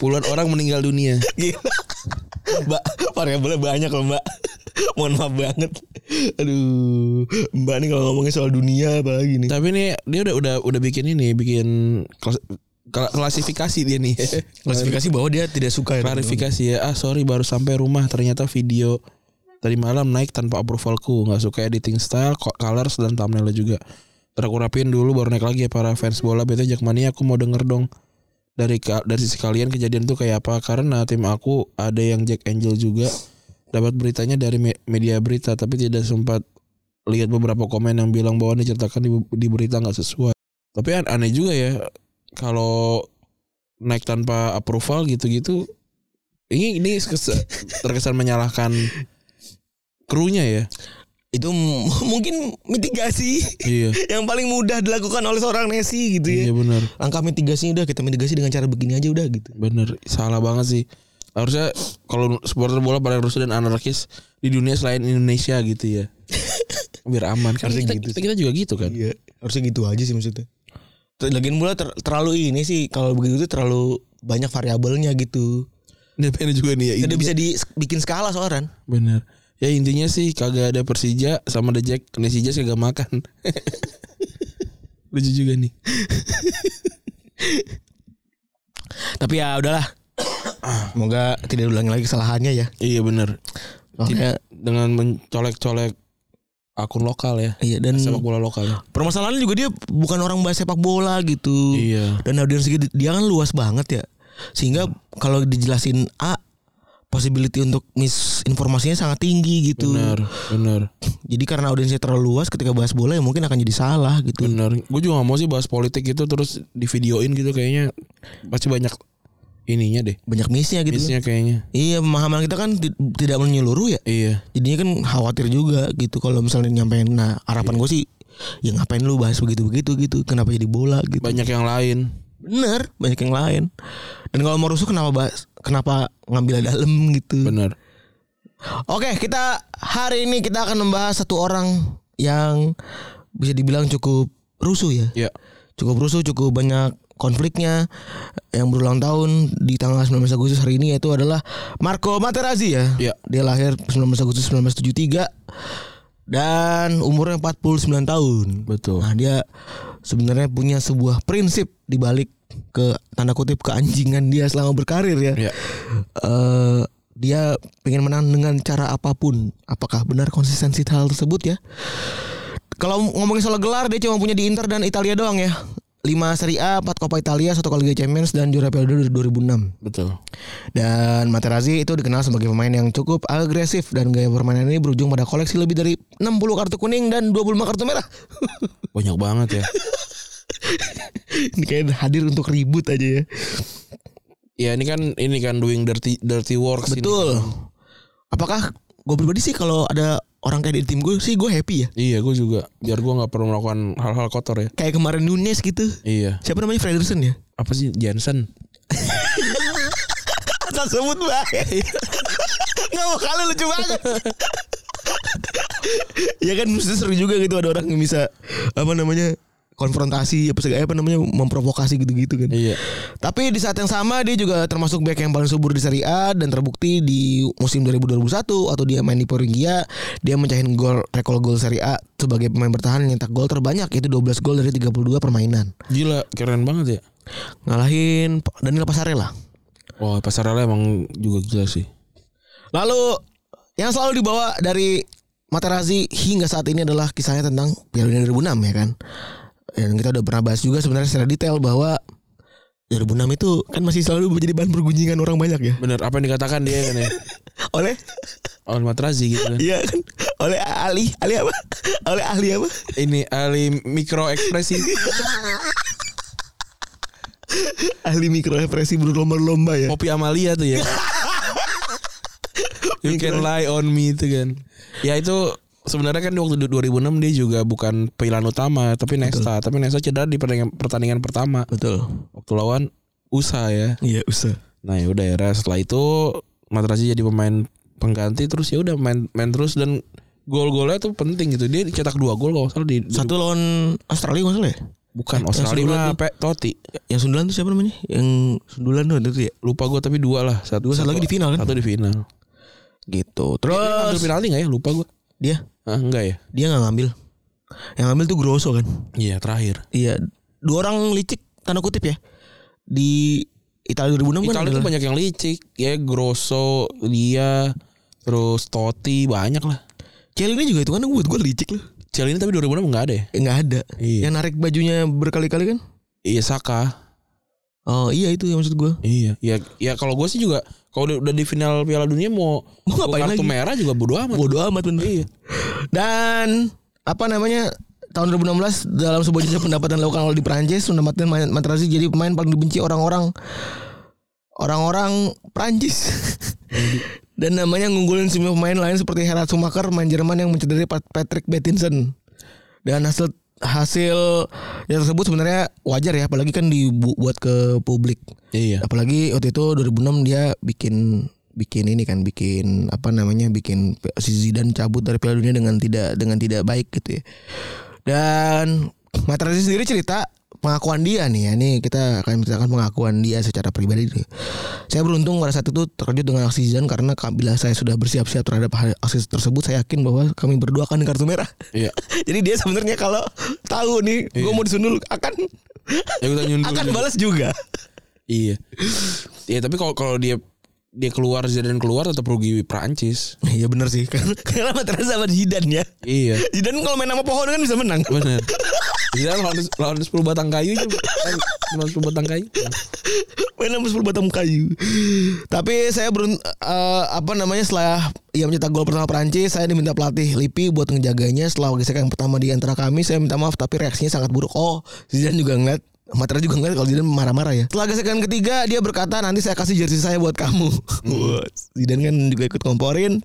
Speaker 3: Puluhan orang meninggal dunia.
Speaker 2: Gila. Mbak, variabelnya banyak loh mbak. Mohon maaf banget. Aduh, mbak nih kalau ngomongin soal dunia apalagi nih.
Speaker 3: Tapi nih dia udah udah udah bikin ini, bikin klas- kla- klasifikasi dia nih.
Speaker 2: Klasifikasi bahwa dia tidak suka ya.
Speaker 3: Klarifikasi ya. Ah, sorry baru sampai rumah ternyata video tadi malam naik tanpa approvalku. nggak suka editing style, co- colors dan thumbnailnya juga. Terkurapin dulu baru naik lagi ya para fans bola bete Jackmania aku mau denger dong dari ka- dari sisi kalian kejadian tuh kayak apa karena tim aku ada yang Jack Angel juga dapat beritanya dari me- media berita tapi tidak sempat lihat beberapa komen yang bilang bahwa diceritakan di, di berita nggak sesuai tapi an- aneh juga ya kalau naik tanpa approval gitu-gitu ini ini kes- terkesan menyalahkan krunya ya
Speaker 2: Itu m- mungkin mitigasi
Speaker 3: iya
Speaker 2: yang paling mudah dilakukan oleh seorang Messi gitu ya.
Speaker 3: iya benar
Speaker 2: Langkah mitigasinya udah kita mitigasi dengan cara begini aja udah gitu.
Speaker 3: benar salah banget sih harusnya kalau supporter bola pada rusuh dan anarkis di dunia selain Indonesia gitu ya biar aman kan
Speaker 2: Harusnya
Speaker 3: kita,
Speaker 2: gitu
Speaker 3: kita, kita juga gitu kan
Speaker 2: Iya, harusnya gitu aja sih maksudnya. Ter- Lagian pula ter- terlalu ini sih kalau begitu tuh terlalu banyak variabelnya gitu.
Speaker 3: ini pengen juga nih ya
Speaker 2: Tidak
Speaker 3: intinya.
Speaker 2: bisa dibikin skala seorang.
Speaker 3: benar ya intinya sih kagak ada Persija sama The Jack Persija kagak makan lucu juga nih
Speaker 2: Tapi ya udahlah. Semoga tidak diulangi lagi kesalahannya ya.
Speaker 3: iya benar
Speaker 2: Soalnya
Speaker 3: dengan mencolek-colek akun lokal ya
Speaker 2: iya dan
Speaker 3: sepak bola lokal ya.
Speaker 2: permasalahannya juga dia bukan orang bahas sepak bola gitu.
Speaker 3: iya
Speaker 2: Dan audiens dia dia kan luas banget ya. Sehingga kalau dijelasin A possibility untuk misinformasinya sangat tinggi gitu.
Speaker 3: benar benar
Speaker 2: Jadi karena audiensnya terlalu luas ketika bahas bola ya mungkin akan jadi salah gitu.
Speaker 3: benar gue juga gak mau sih bahas politik gitu terus di videoin gitu kayaknya pasti banyak ininya deh
Speaker 2: Banyak missnya gitu.
Speaker 3: bisnya kayaknya
Speaker 2: Iya, pemahaman kita kan ti- tidak menyeluruh ya.
Speaker 3: iya
Speaker 2: Jadinya kan khawatir juga gitu kalau misalnya nyampein nah harapan
Speaker 3: Iya.
Speaker 2: gue sih ya ngapain lu bahas begitu-begitu gitu. Kenapa jadi bola gitu.
Speaker 3: banyak yang lain
Speaker 2: Bener banyak yang lain. Dan kalau mau rusuh kenapa bahas kenapa ngambil dalam gitu.
Speaker 3: benar
Speaker 2: Oke kita hari ini kita akan membahas satu orang yang bisa dibilang cukup rusuh ya.
Speaker 3: ya
Speaker 2: Cukup rusuh cukup banyak konfliknya yang berulang tahun di tanggal 19 Agustus hari ini yaitu adalah Marco Materazzi ya.
Speaker 3: ya
Speaker 2: Dia lahir 19 Agustus 1973 dan umurnya 49 tahun.
Speaker 3: betul
Speaker 2: Nah, dia sebenarnya punya sebuah prinsip di balik ke tanda kutip keanjingan dia selama berkarir ya.
Speaker 3: ya
Speaker 2: Eh, dia pengen menang dengan cara apapun. Apakah benar konsistensi hal tersebut ya? Kalau ngomongin soal gelar dia cuma punya di Inter dan Italia doang ya. 5 Serie A, 4 Coppa Italia, 1 Liga Champions dan juara Piala Dunia 2006.
Speaker 3: betul
Speaker 2: Dan Materazzi itu dikenal sebagai pemain yang cukup agresif dan gaya permainan ini berujung pada koleksi lebih dari 60 kartu kuning dan 25 kartu merah.
Speaker 3: banyak banget ya
Speaker 2: Ini kayak hadir untuk ribut aja ya.
Speaker 3: ya ini kan ini kan doing dirty dirty works ini.
Speaker 2: Betul. Apakah gue pribadi sih kalau ada orang kayak di tim gue sih gue happy ya.
Speaker 3: Iya, gue juga. Biar gue nggak perlu melakukan hal-hal kotor ya.
Speaker 2: Kayak kemarin Nunes gitu.
Speaker 3: Iya.
Speaker 2: Siapa namanya Frederson ya?
Speaker 3: Apa sih Jensen?
Speaker 2: Asal sebut baik. Nggak mau kalah lucu banget. ya kan mesti seru juga gitu ada orang yang bisa apa namanya konfrontasi apa segala eh, apa namanya memprovokasi gitu-gitu kan.
Speaker 3: Iya.
Speaker 2: Tapi di saat yang sama dia juga termasuk back yang paling subur di Serie A dan terbukti di musim 2021 atau dia main di Perugia dia mencahin gol rekor gol Serie A sebagai pemain bertahan yang nyetak gol terbanyak yaitu 12 gol dari 32 permainan.
Speaker 3: Gila, keren banget ya.
Speaker 2: Ngalahin Daniel Pasarela.
Speaker 3: Wah, Pasarela emang juga gila sih.
Speaker 2: Lalu yang selalu dibawa dari Materazzi hingga saat ini adalah kisahnya tentang Piala Dunia 2006 ya kan. Dan kita udah pernah bahas juga sebenarnya secara detail bahwa 2006 itu kan masih selalu menjadi bahan pergunjingan orang banyak ya.
Speaker 3: Bener, apa yang dikatakan dia kan ya?
Speaker 2: Oleh
Speaker 3: Oleh Matrazi gitu kan.
Speaker 2: iya kan oleh ahli ahli apa? Oleh ahli apa?
Speaker 3: Ini ahli mikro ekspresi.
Speaker 2: Ahli mikroekspresi berlomba-lomba ya.
Speaker 3: Popi Amalia tuh ya. You can lie on me itu kan. Ya itu sebenarnya kan di waktu 2006 dia juga bukan pilihan utama tapi Nesta, tapi Nesta cedera di pertandingan, pertandingan pertama.
Speaker 2: Betul.
Speaker 3: Waktu lawan USA ya.
Speaker 2: Iya, usah.
Speaker 3: Nah, ya udah era setelah itu Materazzi jadi pemain pengganti terus ya udah main main terus dan gol-golnya tuh penting gitu. Dia cetak dua gol kalau nggak salah di, di-
Speaker 2: Satu lawan Australia nggak salah ya?
Speaker 3: bukan
Speaker 2: yang
Speaker 3: Australia
Speaker 2: sebelah
Speaker 3: mah
Speaker 2: tuh.
Speaker 3: Pe- Totti.
Speaker 2: Ya, Yang sundulan tuh siapa namanya? Yang sundulan tuh ada tuh ya?
Speaker 3: Lupa gue tapi dua lah.
Speaker 2: Dua,
Speaker 3: Satu,
Speaker 2: satu lagi di final kan?
Speaker 3: Satu di final.
Speaker 2: Gitu.
Speaker 3: Ambil
Speaker 2: Terus
Speaker 3: penalti nggak ya? Lupa gue.
Speaker 2: dia
Speaker 3: Ah, enggak ya?
Speaker 2: dia nggak ngambil. Yang ngambil tuh Grosso kan?
Speaker 3: Iya terakhir.
Speaker 2: Iya. Dua orang licik tanda kutip ya di Italia 2006 kan
Speaker 3: Italia tuh
Speaker 2: adalah-
Speaker 3: banyak yang licik, ya Grosso, dia, terus Totti banyak lah.
Speaker 2: Chiellini juga itu kan buat gue licik loh.
Speaker 3: Ciel ini tapi 2006 enggak ada ya?
Speaker 2: Eh, nggak ada.
Speaker 3: Iya.
Speaker 2: Yang narik bajunya berkali-kali kan?
Speaker 3: Iya Saka.
Speaker 2: Oh iya itu yang maksud gue.
Speaker 3: Iya. Ya ya kalau gue sih juga kalau udah, udah di final Piala Dunia mau
Speaker 2: Mau
Speaker 3: mau
Speaker 2: ngapain lagi?
Speaker 3: kartu merah juga bodo amat.
Speaker 2: Bodoh amat bener. Dan apa namanya tahun 2016 dalam sebuah jejak pendapatan lokal di Prancis menempatkan Ma- Materazzi jadi pemain paling dibenci orang-orang orang-orang Prancis. Dan namanya ngunggulin semua pemain lain seperti Gerard Schumacher main Jerman yang mencederai Pat- Patrick Bettinson. Dan hasil hasil yang tersebut sebenarnya wajar ya apalagi kan dibuat ke publik.
Speaker 3: Iya.
Speaker 2: Apalagi waktu itu 2006 dia bikin bikin ini kan bikin apa namanya bikin P- si Zidane cabut dari Piala Dunia dengan tidak dengan tidak baik gitu ya. Dan Materazzi sendiri cerita pengakuan dia nih ya nih kita akan menceritakan pengakuan dia secara pribadi nih. Saya beruntung pada saat itu terkejut dengan aksi Zidane karena ka- bila saya sudah bersiap-siap terhadap hal- aksi tersebut saya yakin bahwa kami berdua akan di kartu merah.
Speaker 3: Iya.
Speaker 2: Jadi dia sebenarnya kalau tahu nih gue mau disundul akan
Speaker 3: Ya kita nyundul.
Speaker 2: akan
Speaker 3: juga.
Speaker 2: balas juga.
Speaker 3: Iya. Iya tapi kalau kalau dia dia keluar Zidane keluar tetap rugi Prancis.
Speaker 2: Iya bener sih Karena karena Materazzi sama Zidane ya
Speaker 3: Iya.
Speaker 2: Zidane kalau main sama pohon kan bisa menang
Speaker 3: Benar. Zidane Iya, lawan lawan 10 batang kayu juga. Lawan 10 batang kayu.
Speaker 2: Main sama 10 batang kayu Tapi saya berun eh, Apa namanya setelah Ia mencetak gol pertama Perancis Saya diminta pelatih Lipi buat ngejaganya Setelah gesekan pertama di antara kami Saya minta maaf tapi reaksinya sangat buruk Oh Zidane juga ngeliat Materazzi juga ngeliat kalau Zidane marah-marah ya Setelah gesekan ketiga Dia berkata nanti saya kasih jersey saya buat kamu Wah, Zidane kan juga ikut komporin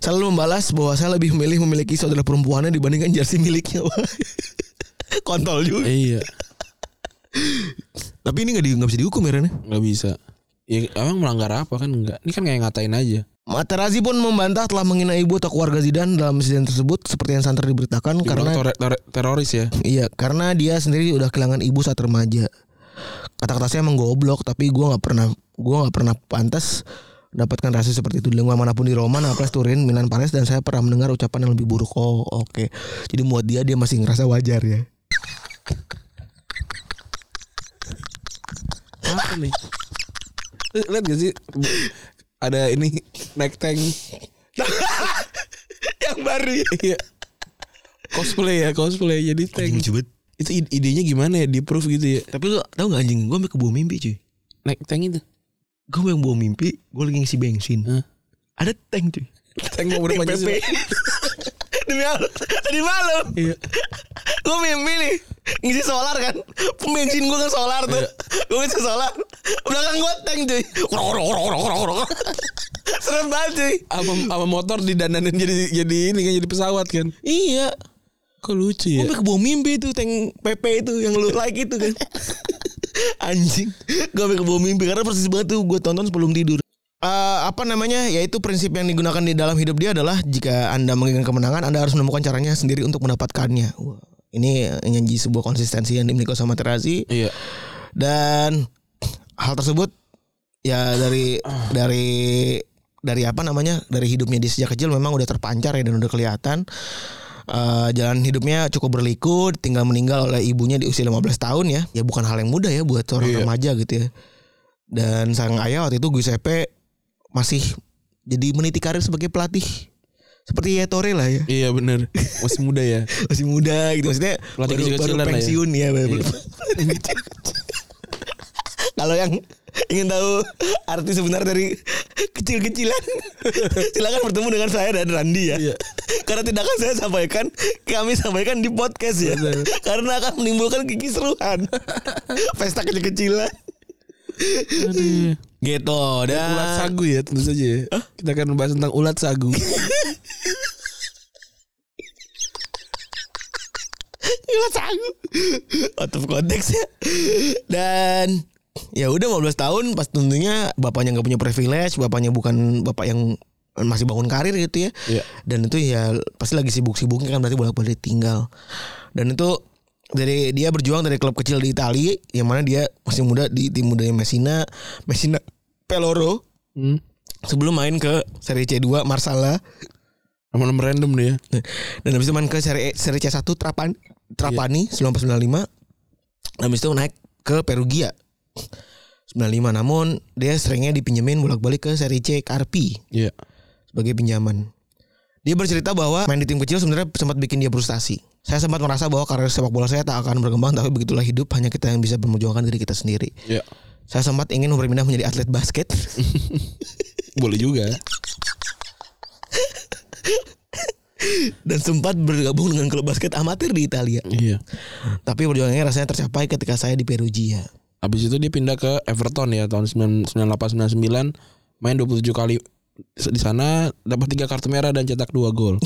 Speaker 2: Selalu membalas bahwa saya lebih memilih memiliki saudara perempuannya Dibandingkan jersey miliknya Wah, Kontol juga Eh,
Speaker 3: Iya.
Speaker 2: Tapi ini gak, di, gak bisa dihukum ya Ren?
Speaker 3: nggak bisa ya emang melanggar apa kan enggak ini kan kayak ngatain aja
Speaker 2: Materazzi pun membantah telah menghina ibu atau keluarga Zidane dalam insiden tersebut seperti yang santer diberitakan
Speaker 3: karena
Speaker 2: karena
Speaker 3: teroris ya
Speaker 2: iya karena dia sendiri udah kehilangan ibu saat remaja. Kata-kata saya emang goblok tapi gua nggak pernah gua nggak pernah pantas mendapatkan rasa seperti itu di lingkungan manapun di Roma, Naples, Turin, Milan, Paris dan saya pernah mendengar ucapan yang lebih buruk. Oh, oke. Jadi buat dia dia masih ngerasa wajar ya.
Speaker 3: apa nih Lu lihat gak sih ada ini naik tank
Speaker 2: yang baru
Speaker 3: iya cosplay ya cosplay jadi tank itu ide- idenya gimana ya di proof gitu ya
Speaker 2: Tapi lu tau gak anjing, gue sampai kebawa mimpi cuy.
Speaker 3: naik tank itu
Speaker 2: Gue yang bawa mimpi, gue lagi ngisi bensin.
Speaker 3: Hah?
Speaker 2: Ada tank cuy.
Speaker 3: tank mau
Speaker 2: Tim
Speaker 3: berapa
Speaker 2: PP. Demi Allah Tadi malam
Speaker 3: iya
Speaker 2: Gue mimpi nih ngisi solar kan bensin gue kan solar tuh gue ngisi solar belakang gue tank cuy Krok, krok, krok, krok, krok, krok. serem banget cuy
Speaker 3: Apa apa motor didandanin jadi jadi ini kan jadi pesawat kan.
Speaker 2: iya
Speaker 3: Kok lucu ya?
Speaker 2: gue ke bawah mimpi tuh tank PP itu yang lu like itu kan anjing gue ke bawah mimpi karena persis banget tuh gue tonton sebelum tidur Eh, apa namanya yaitu prinsip yang digunakan di dalam hidup dia adalah jika anda menginginkan kemenangan anda harus menemukan caranya sendiri untuk mendapatkannya Wah, ini janji sebuah konsistensi yang dimiliki sama Terazi
Speaker 3: Iya.
Speaker 2: dan hal tersebut ya dari dari dari apa namanya dari hidupnya dia sejak kecil memang udah terpancar ya dan udah kelihatan Eh, jalan hidupnya cukup berliku tinggal meninggal oleh ibunya di usia 15 tahun ya ya bukan hal yang mudah ya buat seorang
Speaker 3: Iya.
Speaker 2: remaja gitu ya dan sang ayah waktu itu Giuseppe masih jadi meniti karir sebagai pelatih seperti Yetore lah ya
Speaker 3: Iya bener Masih muda ya.
Speaker 2: masih muda gitu maksudnya
Speaker 3: Pelatih
Speaker 2: baru, baru
Speaker 3: kecil-kecilan lah ya.
Speaker 2: pensiun ya, baru-
Speaker 3: Iya.
Speaker 2: kalau yang ingin tahu arti sebenarnya dari kecil-kecilan silakan bertemu dengan saya dan Randi ya
Speaker 3: Iya.
Speaker 2: karena tidak akan saya sampaikan kami sampaikan di podcast ya
Speaker 3: Benar.
Speaker 2: karena akan menimbulkan kekisruhan pesta kecil-kecilan
Speaker 3: Aduh.
Speaker 2: gitu
Speaker 3: Ulat
Speaker 2: dan
Speaker 3: sagu ya tentu saja ya. Kita akan membahas tentang ulat sagu.
Speaker 2: Gila sanggup Out of context ya Dan ya udah 15 tahun pas tentunya bapaknya nggak punya privilege bapaknya bukan bapak yang masih bangun karir gitu ya
Speaker 3: Iya.
Speaker 2: dan itu ya pasti lagi sibuk-sibuknya kan berarti bolak-balik tinggal dan itu dari dia berjuang dari klub kecil di Italia yang mana dia masih muda di tim mudanya Messina Messina Peloro
Speaker 3: Hmm.
Speaker 2: sebelum main ke Serie C2 Marsala
Speaker 3: Nomor nomor random nih ya.
Speaker 2: dan habis itu main ke seri seri C1 Trapan Trapani 1995. Dan habis itu naik ke Perugia 95. Namun dia seringnya dipinjemin bolak-balik ke seri C Carpi
Speaker 3: Iya.
Speaker 2: sebagai pinjaman. Dia bercerita bahwa main di tim kecil sebenarnya sempat bikin dia frustasi. Saya sempat merasa bahwa karir sepak bola saya tak akan berkembang tapi begitulah hidup hanya kita yang bisa memperjuangkan diri kita sendiri.
Speaker 3: Iya.
Speaker 2: Saya sempat ingin berpindah menjadi atlet basket.
Speaker 3: Boleh juga.
Speaker 2: dan sempat bergabung dengan klub basket amatir di Italia.
Speaker 3: Iya.
Speaker 2: Tapi perjuangannya rasanya tercapai ketika saya di Perugia.
Speaker 3: Habis itu dia pindah ke Everton ya tahun 98 99 main 27 kali di sana dapat tiga kartu merah dan cetak dua gol.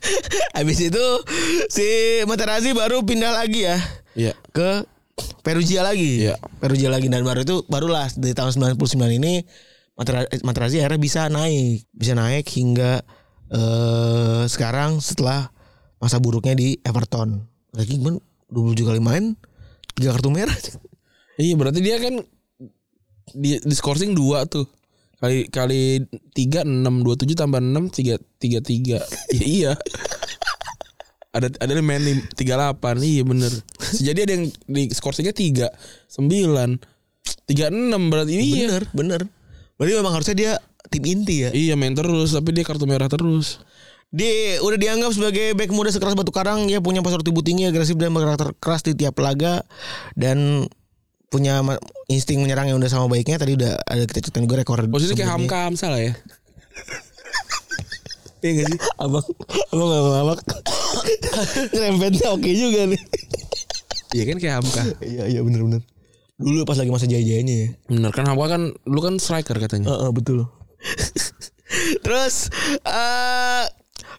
Speaker 2: Habis itu si Materazzi baru pindah lagi ya
Speaker 3: Iya.
Speaker 2: ke Perugia lagi.
Speaker 3: Iya.
Speaker 2: Perugia lagi dan baru itu barulah dari tahun 99 ini Matera- Materazzi akhirnya bisa naik, bisa naik hingga eh sekarang setelah masa buruknya di Everton. Lagi gimana? 27 kali main, 3 kartu merah.
Speaker 3: Iya berarti dia kan di, di scoring dua tuh kali kali tiga enam dua tujuh tambah enam tiga tiga tiga Ya, iya ada ada yang main lim- tiga delapan iya bener sejadi ada yang di scoringnya tiga sembilan tiga enam berarti iya
Speaker 2: Bener, bener. Berarti memang harusnya dia tim inti ya.
Speaker 3: iya main terus tapi dia kartu merah terus
Speaker 2: Dia udah dianggap sebagai back muda sekeras batu karang. Dia punya pasar tubuh tinggi, agresif dan berkarakter keras di tiap laga dan punya ma- insting menyerang yang udah sama baiknya. Tadi udah ada kita ceritain juga rekor.
Speaker 3: posisinya kayak
Speaker 2: sebelumnya.
Speaker 3: Hamka Hamsa lah ya
Speaker 2: Iya gak sih? Abang, abang, abang, abang. Rempetnya oke juga nih.
Speaker 3: iya kan kayak Hamka
Speaker 2: Iya, iya bener-bener. Dulu pas lagi masa jaya-jayanya ya.
Speaker 3: bener kan Hamka kan lu kan striker katanya
Speaker 2: Heeh, betul. Terus eh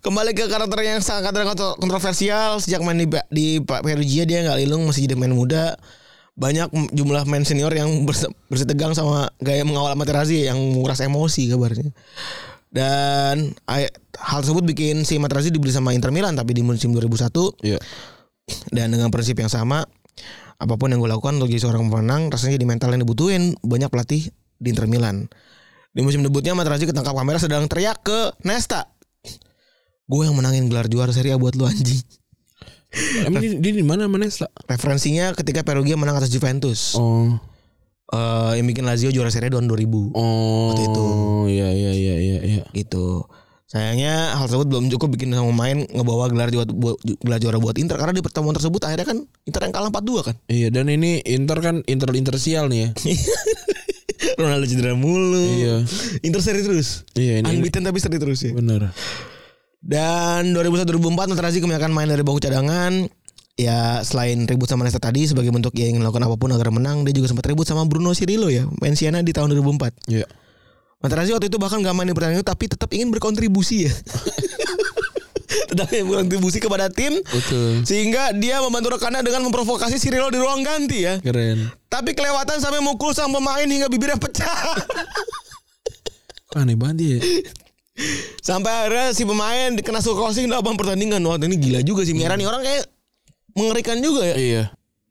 Speaker 2: kembali ke karakter yang sangat kadang kontro- kontroversial sejak main di, Ba- di Pak Perugia dia nggak linglung masih jadi main muda. Banyak m- jumlah main senior yang berse- bersitegang sama gaya mengawal Materazzi yang menguras emosi kabarnya. Dan ay- hal tersebut bikin si Materazzi dibeli sama Inter Milan tapi di musim 2001
Speaker 3: iya
Speaker 2: dan dengan prinsip yang sama apapun yang gue lakukan untuk jadi seorang pemenang rasanya di mental yang dibutuhin banyak pelatih di Inter Milan di musim debutnya Materazzi ketangkap kamera sedang teriak ke Nesta gue yang menangin gelar juara Serie A buat lu anjing
Speaker 3: emang dia, dia di mana mana Sla?
Speaker 2: referensinya ketika Perugia menang atas Juventus
Speaker 3: oh
Speaker 2: Eh, yang bikin Lazio juara Serie A tahun 2000
Speaker 3: Oh,
Speaker 2: Waktu itu.
Speaker 3: Iya, iya, iya, iya, iya.
Speaker 2: gitu sayangnya hal tersebut belum cukup bikin sama pemain ngebawa gelar juara buat gelar juara buat Inter karena di pertemuan tersebut akhirnya kan Inter yang kalah 4-2 kan
Speaker 3: Iya, dan ini Inter kan Inter Inter sial nih ya.
Speaker 2: Ronaldo cedera mulu
Speaker 3: Iya.
Speaker 2: Inter seri terus
Speaker 3: Iya, ini, ini
Speaker 2: Unbeaten tapi seri
Speaker 3: Iya,
Speaker 2: terus ya.
Speaker 3: bener.
Speaker 2: Dan 2001-2004 Materazzi kembali akan main dari bangku cadangan ya selain ribut sama Nesta tadi sebagai bentuk dia ingin melakukan apapun agar menang, dia juga sempat ribut sama Bruno Cirillo ya, main Siena di tahun 2004.
Speaker 3: Iya.
Speaker 2: Materazzi waktu itu bahkan gak main di pertandingan itu tapi tetap ingin berkontribusi ya. tetap ingin berkontribusi kepada tim
Speaker 3: Betul.
Speaker 2: sehingga dia membantu rekannya dengan memprovokasi Cirillo di ruang ganti ya.
Speaker 3: Keren.
Speaker 2: Tapi kelewatan sampai mukul sang pemain hingga bibirnya pecah.
Speaker 3: Kok aneh banget dia. ya?
Speaker 2: sampai akhirnya si pemain dikena suruh crossing dalam "Nah, pertandingan. Wah, ini gila juga sih Miera nih orang kayak mengerikan juga ya.
Speaker 3: iya.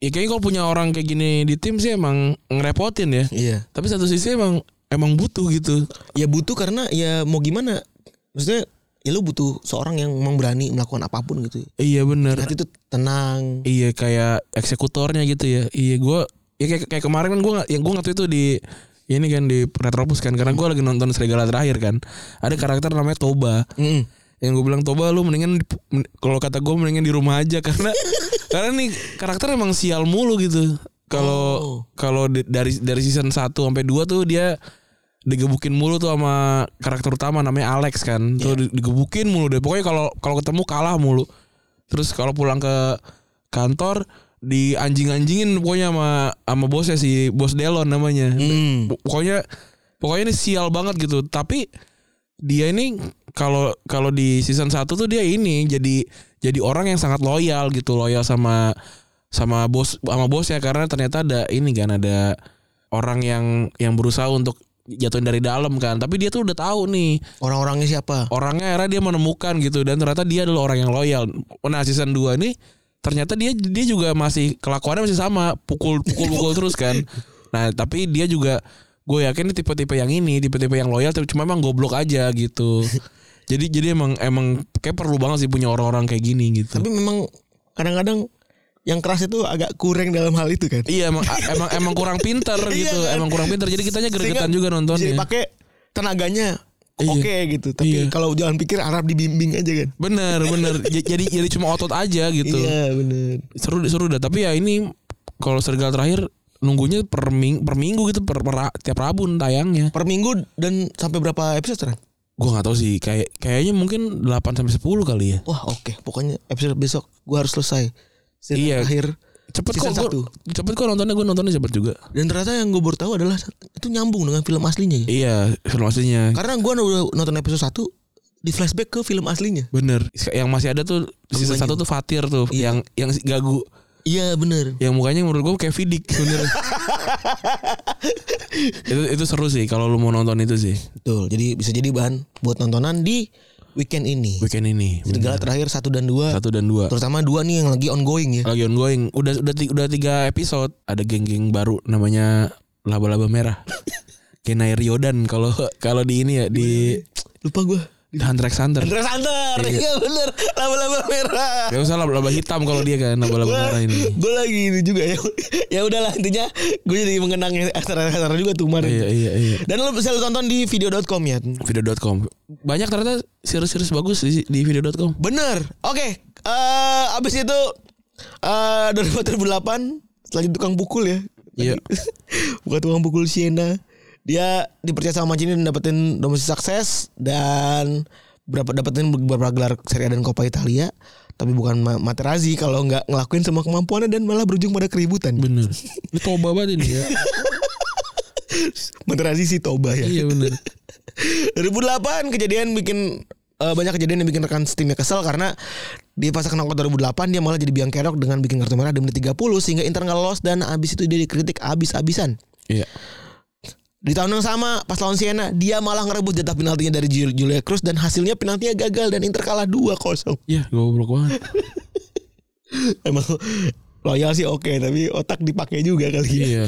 Speaker 3: Ya kayaknya kalau punya orang kayak gini di tim sih emang ngerepotin ya.
Speaker 2: Iya.
Speaker 3: Tapi satu sisi emang emang butuh gitu.
Speaker 2: Ya butuh karena ya mau gimana? Maksudnya ya lu butuh seorang yang memang berani melakukan apapun gitu.
Speaker 3: Iya bener.
Speaker 2: Hati itu tenang.
Speaker 3: Iya kayak eksekutornya gitu ya. Iya gua ya kayak, kayak kemarin kan gue yang gue waktu itu di ini kan di Retropus kan karena gua lagi nonton Serigala terakhir kan. Ada karakter namanya Toba.
Speaker 2: Mm-mm.
Speaker 3: yang gue bilang Toba lu mendingan di- men- kalau kata gue mendingan di rumah aja karena karena nih karakter emang sial mulu gitu kalau
Speaker 2: Oh.
Speaker 3: kalau di- dari dari season 1 sampai 2 tuh dia digebukin mulu tuh sama karakter utama namanya Alex kan tuh di- digebukin mulu deh pokoknya kalau kalau ketemu kalah mulu terus kalau pulang ke kantor di anjing-anjingin pokoknya sama sama bosnya si bos Delon namanya
Speaker 2: Mm.
Speaker 3: Po- pokoknya pokoknya ini sial banget gitu tapi dia ini kalau kalau di season 1 tuh dia ini jadi jadi orang yang sangat loyal gitu loyal sama sama bos sama bosnya karena ternyata ada ini kan ada orang yang yang berusaha untuk jatuhin dari dalam kan tapi dia tuh udah tahu nih
Speaker 2: Orang-orangnya siapa?
Speaker 3: orangnya akhirnya dia menemukan gitu dan ternyata dia adalah orang yang loyal. Nah season 2 nih ternyata dia dia juga masih kelakuannya masih sama pukul pukul pukul terus kan. Nah tapi dia juga gue yakin ini tipe-tipe yang ini tipe-tipe yang loyal tapi cuma emang goblok aja gitu. Jadi jadi emang emang kayak perlu banget sih punya orang-orang kayak gini gitu.
Speaker 2: Tapi memang kadang-kadang yang keras itu agak kurang dalam hal itu kan.
Speaker 3: iya emang emang emang kurang pintar gitu,
Speaker 2: Iya kan?
Speaker 3: emang kurang pintar. Jadi kitanya
Speaker 2: Sehingga
Speaker 3: gregetan juga nontonnya.
Speaker 2: Jadi pakai tenaganya
Speaker 3: Iya.
Speaker 2: oke gitu. Tapi
Speaker 3: Iya.
Speaker 2: kalau jalan pikir Arab dibimbing aja kan.
Speaker 3: Bener bener. J- Jadi jadi cuma otot aja gitu.
Speaker 2: Iya bener.
Speaker 3: seru seru dah tapi ya ini kalau serigala terakhir nunggunya per, ming- per minggu gitu per, per- tiap Rabu tayangnya
Speaker 2: Per minggu dan sampai berapa episode sekarang?
Speaker 3: gua nggak tahu sih kayak kayaknya mungkin 8 sampai 10 kali ya
Speaker 2: Wah oke. Pokoknya episode besok gue harus selesai. Season
Speaker 3: Iya.
Speaker 2: Akhir.
Speaker 3: cepet
Speaker 2: Season
Speaker 3: kok
Speaker 2: satu.
Speaker 3: gua, cepet kok nontonnya gua nontonnya cepet juga
Speaker 2: Dan ternyata yang gue baru tahu adalah itu nyambung dengan film aslinya. Ya.
Speaker 3: iya film aslinya
Speaker 2: Karena gue udah nonton episode 1 di flashback ke film aslinya.
Speaker 3: bener yang masih ada tuh season
Speaker 2: Kebanyakan.
Speaker 3: satu tuh Fatir tuh yang yang si gagu
Speaker 2: Iya bener.
Speaker 3: yang mukanya menurut gua kayak Vidik bener itu itu seru sih kalau lu mau nonton itu sih
Speaker 2: Betul. Jadi bisa jadi bahan buat nontonan di weekend ini.
Speaker 3: weekend ini bener.
Speaker 2: Serigala terakhir 1 dan 2
Speaker 3: satu dan dua
Speaker 2: Terutama dua nih yang lagi ongoing ya.
Speaker 3: lagi ongoing udah udah ti- udah tiga episode ada geng-geng baru namanya laba-laba merah Kenai Riodan kalau kalau di ini ya di
Speaker 2: Lupa gue.
Speaker 3: Hunter x Hunter
Speaker 2: Andres Hunter.
Speaker 3: Iya.
Speaker 2: Iya bener. Laba-laba merah.
Speaker 3: ya usah laba-laba hitam kalau dia kan laba-laba merah ini
Speaker 2: Gue lagi ini juga ya. ya udahlah intinya gue jadi mengenang acara-acara juga tuh kemarin.
Speaker 3: iya iya iya
Speaker 2: Dan lo bisa lo tonton di video.com ya.
Speaker 3: video.com banyak ternyata series-series bagus di, di video.com
Speaker 2: Bener. Oke. Eh abis itu eh 2008 setelah jadi tukang pukul ya.
Speaker 3: Iya.
Speaker 2: Bukan tukang pukul Siena. Dia dipercaya sama Mancini dan dapetin domestik sukses dan berapa dapetin beberapa gelar Serie A dan Coppa Italia. Tapi bukan Ma- Materazzi kalau nggak ngelakuin semua kemampuannya dan malah berujung pada keributan.
Speaker 3: bener ini toba banget ini ya
Speaker 2: Materazzi sih toba ya.
Speaker 3: iya bener
Speaker 2: 2008 kejadian bikin eh, banyak kejadian yang bikin rekan timnya kesel karena di fase knockout 2008 dia malah jadi biang kerok dengan bikin kartu merah di menit 30 sehingga Inter nggak lolos dan abis itu dia dikritik abis-abisan.
Speaker 3: iya
Speaker 2: Di tahun yang sama pas lawan Siena dia malah ngerebut jatah penaltinya dari Jul- Julio Cruz dan hasilnya penaltinya gagal dan Inter kalah 2-0.
Speaker 3: iya goblok banget
Speaker 2: Emang loyal sih oke tapi otak dipakai juga kali ya.
Speaker 3: iya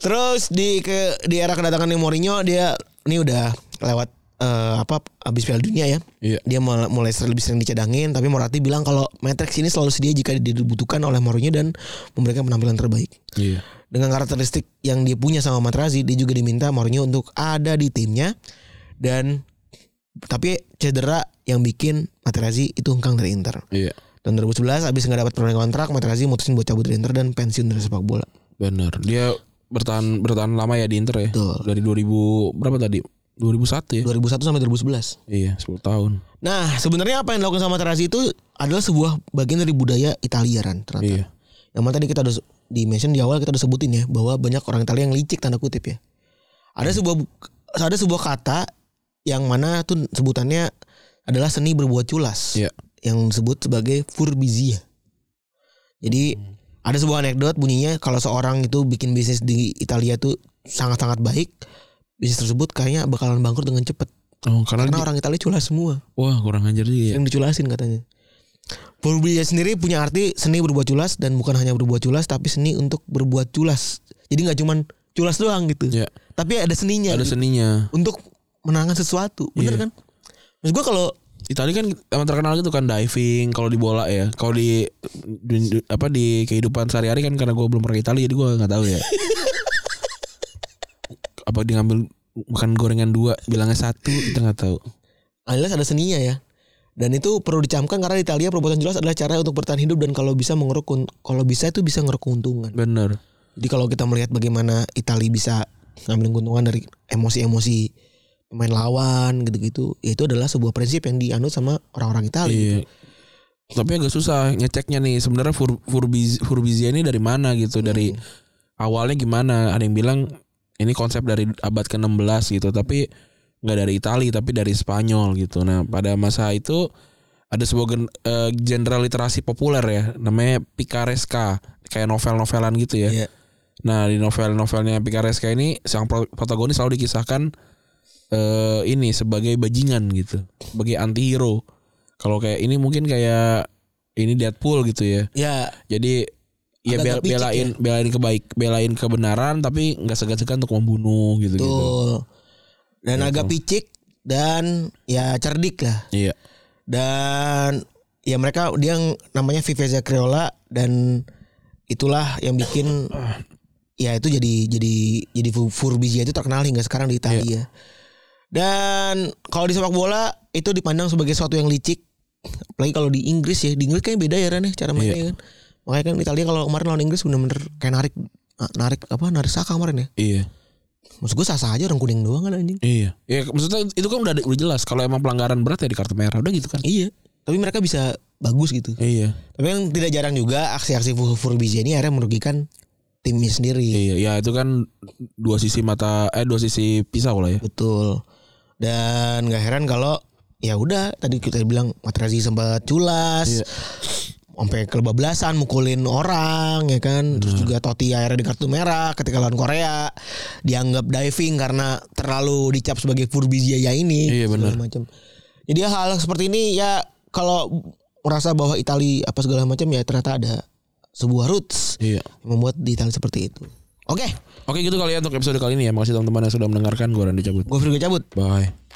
Speaker 2: Terus di ke di era kedatangan Mourinho dia ini udah lewat eh, apa abis Piala Dunia ya.
Speaker 3: Iya.
Speaker 2: Dia mulai, mulai ser- lebih sering dicadangin tapi Moratti bilang kalau Matrix ini selalu sedia jika dibutuhkan oleh Mourinho dan memberikan penampilan terbaik.
Speaker 3: iya
Speaker 2: Dengan karakteristik yang dia punya sama Materazzi, dia juga diminta Mourinho untuk ada di timnya dan tapi cedera yang bikin Materazzi itu hengkang dari Inter.
Speaker 3: iya
Speaker 2: Tahun 2011 abis nggak dapat perpanjangan kontrak, Materazzi mutusin buat cabut dari Inter dan pensiun dari sepak bola.
Speaker 3: bener dia bertahan bertahan lama ya di Inter ya
Speaker 2: Betul.
Speaker 3: dari 2000 berapa tadi 2001 ya
Speaker 2: 2001 sampai 2011.
Speaker 3: iya 10 tahun
Speaker 2: Nah, sebenarnya apa yang dilakukan sama Terasi itu adalah sebuah bagian dari budaya Italia Ran, ternyata.
Speaker 3: iya
Speaker 2: Yang mana tadi kita udah di mention di awal kita udah sebutin ya bahwa banyak orang Italia yang licik tanda kutip ya. Ada sebuah ada sebuah kata yang mana tuh sebutannya adalah seni berbuat culas
Speaker 3: iya
Speaker 2: yang disebut sebagai furbizia. Jadi ada sebuah anekdot bunyinya kalau seorang itu bikin bisnis di Italia tuh sangat-sangat baik, bisnis tersebut kayaknya bakalan bangkrut dengan cepat
Speaker 3: oh,
Speaker 2: karena
Speaker 3: karena, dia-
Speaker 2: orang Italia culas semua
Speaker 3: wah kurang ajar juga ya
Speaker 2: yang diculasin katanya. Berbudaya sendiri punya arti seni berbuat culas dan bukan hanya berbuat culas tapi seni untuk berbuat culas. Jadi nggak cuman culas doang gitu.
Speaker 3: Iya.
Speaker 2: Tapi ada seninya
Speaker 3: ada
Speaker 2: gitu.
Speaker 3: seninya
Speaker 2: untuk menangkan sesuatu. Bener
Speaker 3: Iya.
Speaker 2: kan? Maksud gua kalau
Speaker 3: Italia kan emang terkenal gitu kan diving kalau di bola ya kalau di, di- di- apa di kehidupan sehari-hari kan karena gue belum pernah ke Italia jadi gue nggak tahu ya apa dia ngambil makan gorengan dua bilangnya satu kita nggak tahu
Speaker 2: jelas ada seninya ya. Dan itu perlu dicamkan karena di Italia perbuatan culas adalah cara untuk bertahan hidup dan kalau bisa mengeruk kun- kalau bisa itu bisa ngeruk keuntungan.
Speaker 3: bener
Speaker 2: Jadi kalau kita melihat bagaimana Italia bisa ngambil keuntungan dari emosi-emosi pemain lawan gitu-gitu, ya itu adalah sebuah prinsip yang dianut sama orang-orang gitu. Italia.
Speaker 3: Iya. Tapi agak susah ngeceknya nih sebenarnya Fur- Furbiz- Furbizia ini dari mana gitu dari awalnya gimana ada yang bilang ini konsep dari abad ke-16 gitu tapi nggak dari Italia tapi dari Spanyol gitu. Nah, pada masa itu ada sebuah gen- eh, genre literasi populer ya namanya picaresca kayak novel-novelan gitu ya.
Speaker 2: Iya.
Speaker 3: Nah, di novel-novelnya picaresca ini sang pro- protagonis selalu dikisahkan eh ini sebagai bajingan gitu, sebagai antihero. Kalau kayak ini mungkin kayak ini Deadpool gitu ya.
Speaker 2: Ya,
Speaker 3: Jadi ya bel-
Speaker 2: Agak-agak picik
Speaker 3: belain belain kebaik, belain kebenaran tapi nggak segan-segan untuk membunuh gitu gitu.
Speaker 2: betul. Dan
Speaker 3: Gitu.
Speaker 2: agak picik dan ya cerdik lah.
Speaker 3: Iya.
Speaker 2: Dan ya mereka dia yang namanya Vivezia Creola dan itulah yang bikin ya itu jadi jadi jadi Fu- Furbizia itu terkenal hingga sekarang di Italia. Dan kalau di sepak bola itu dipandang sebagai sesuatu yang licik. Apalagi kalau di Inggris ya, di Inggris kayaknya beda ya Ran ya cara mainnya kan. Makanya kan Italia kalau kemarin lawan Inggris bener-bener kayak narik ah, narik apa narik saka kemarin ya.
Speaker 3: Iya.
Speaker 2: Maksud gue sah-sah aja orang kuning doang kan anjing.
Speaker 3: Iya. Ya maksudnya itu kan udah udah jelas kalau emang pelanggaran berat ya di kartu merah udah gitu kan.
Speaker 2: Iya. Tapi mereka bisa bagus gitu.
Speaker 3: Iya.
Speaker 2: Tapi yang tidak jarang juga aksi-aksi Fu- Furbizia ini akhirnya merugikan timnya sendiri.
Speaker 3: Iya, ya itu kan dua sisi mata eh dua sisi pisau lah ya.
Speaker 2: Betul. Dan gak heran kalau ya udah tadi kita bilang Materazzi sempat culas.
Speaker 3: Iya.
Speaker 2: Sampai kelebablasan mukulin orang ya
Speaker 3: Iya.
Speaker 2: kan. Terus juga Totti akhirnya di kartu merah ketika lawan Korea dianggap diving karena terlalu dicap sebagai Furbizia ya ini.
Speaker 3: Iya,
Speaker 2: segala
Speaker 3: benar.
Speaker 2: Macam. Jadi hal seperti ini ya kalau merasa bahwa Itali apa segala macam ya ternyata ada sebuah roots
Speaker 3: Iya.
Speaker 2: yang membuat detail seperti itu. Oke,
Speaker 3: Oke gitu kali ya untuk episode kali ini ya. Makasih teman-teman yang sudah mendengarkan. Gue Randy cabut.
Speaker 2: gue Virgo cabut.
Speaker 3: Bye.